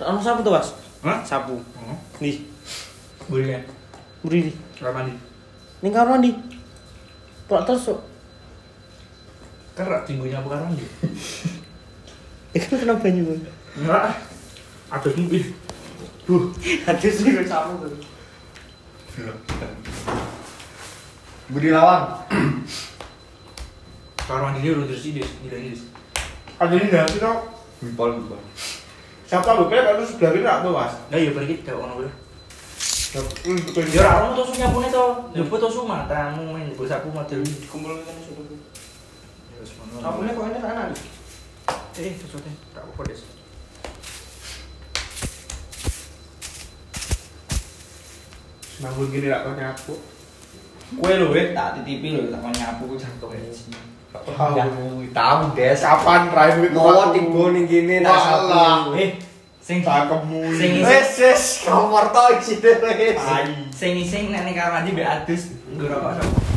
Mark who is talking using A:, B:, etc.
A: Ono sapu tuh, Mas?
B: Hah?
A: Sapu.
B: Oh,
A: Nih,
B: buri kan?
A: buri nih.
B: Kamar mandi.
A: Ning kamar mandi. Kok terus kok.
B: Kerak tinggunya Kan apa karang gitu?
A: Eh, kan kena banyu. Bang.
B: Enggak. Ada mimpi. Duh.
A: Hadis sih gue sapu tuh.
C: Budi Lawang.
B: Kamar mandi dia udah tersidis, tidak sidis.
D: Ada ini nggak sih toh?
C: Bipol Bipol.
D: Siapa lu kayak kalau sebelah kiri apa mas?
B: Lah iya pergi tidak ono boleh.
D: Hmm, betul.
B: Ya ora ono tusuk nyapune to. Jebut tusuk matamu men jebut sapu model.
A: Kumpul kan sudah.
B: Ya wis ngono.
A: Sapunya kok kan enak anak.
B: Eh, tusuknya tak apa-apa des.
D: Nanggung gini lah kau nyapu.
C: Kue lu weh tak titipi lu tak mau nyapu ku cangkem.
D: Tahu.
C: Tahu des.
D: Kapan terakhir duit
C: Ngowo tiba ning kene tak
D: Walah.
C: sapu.
B: Eh, sing
D: Cakemmu.
B: Sing
D: ini.
B: isih
C: Wes wes kamar to iki deh.
B: sing isih nek ning kamar mandi mbek adus. Ora kok.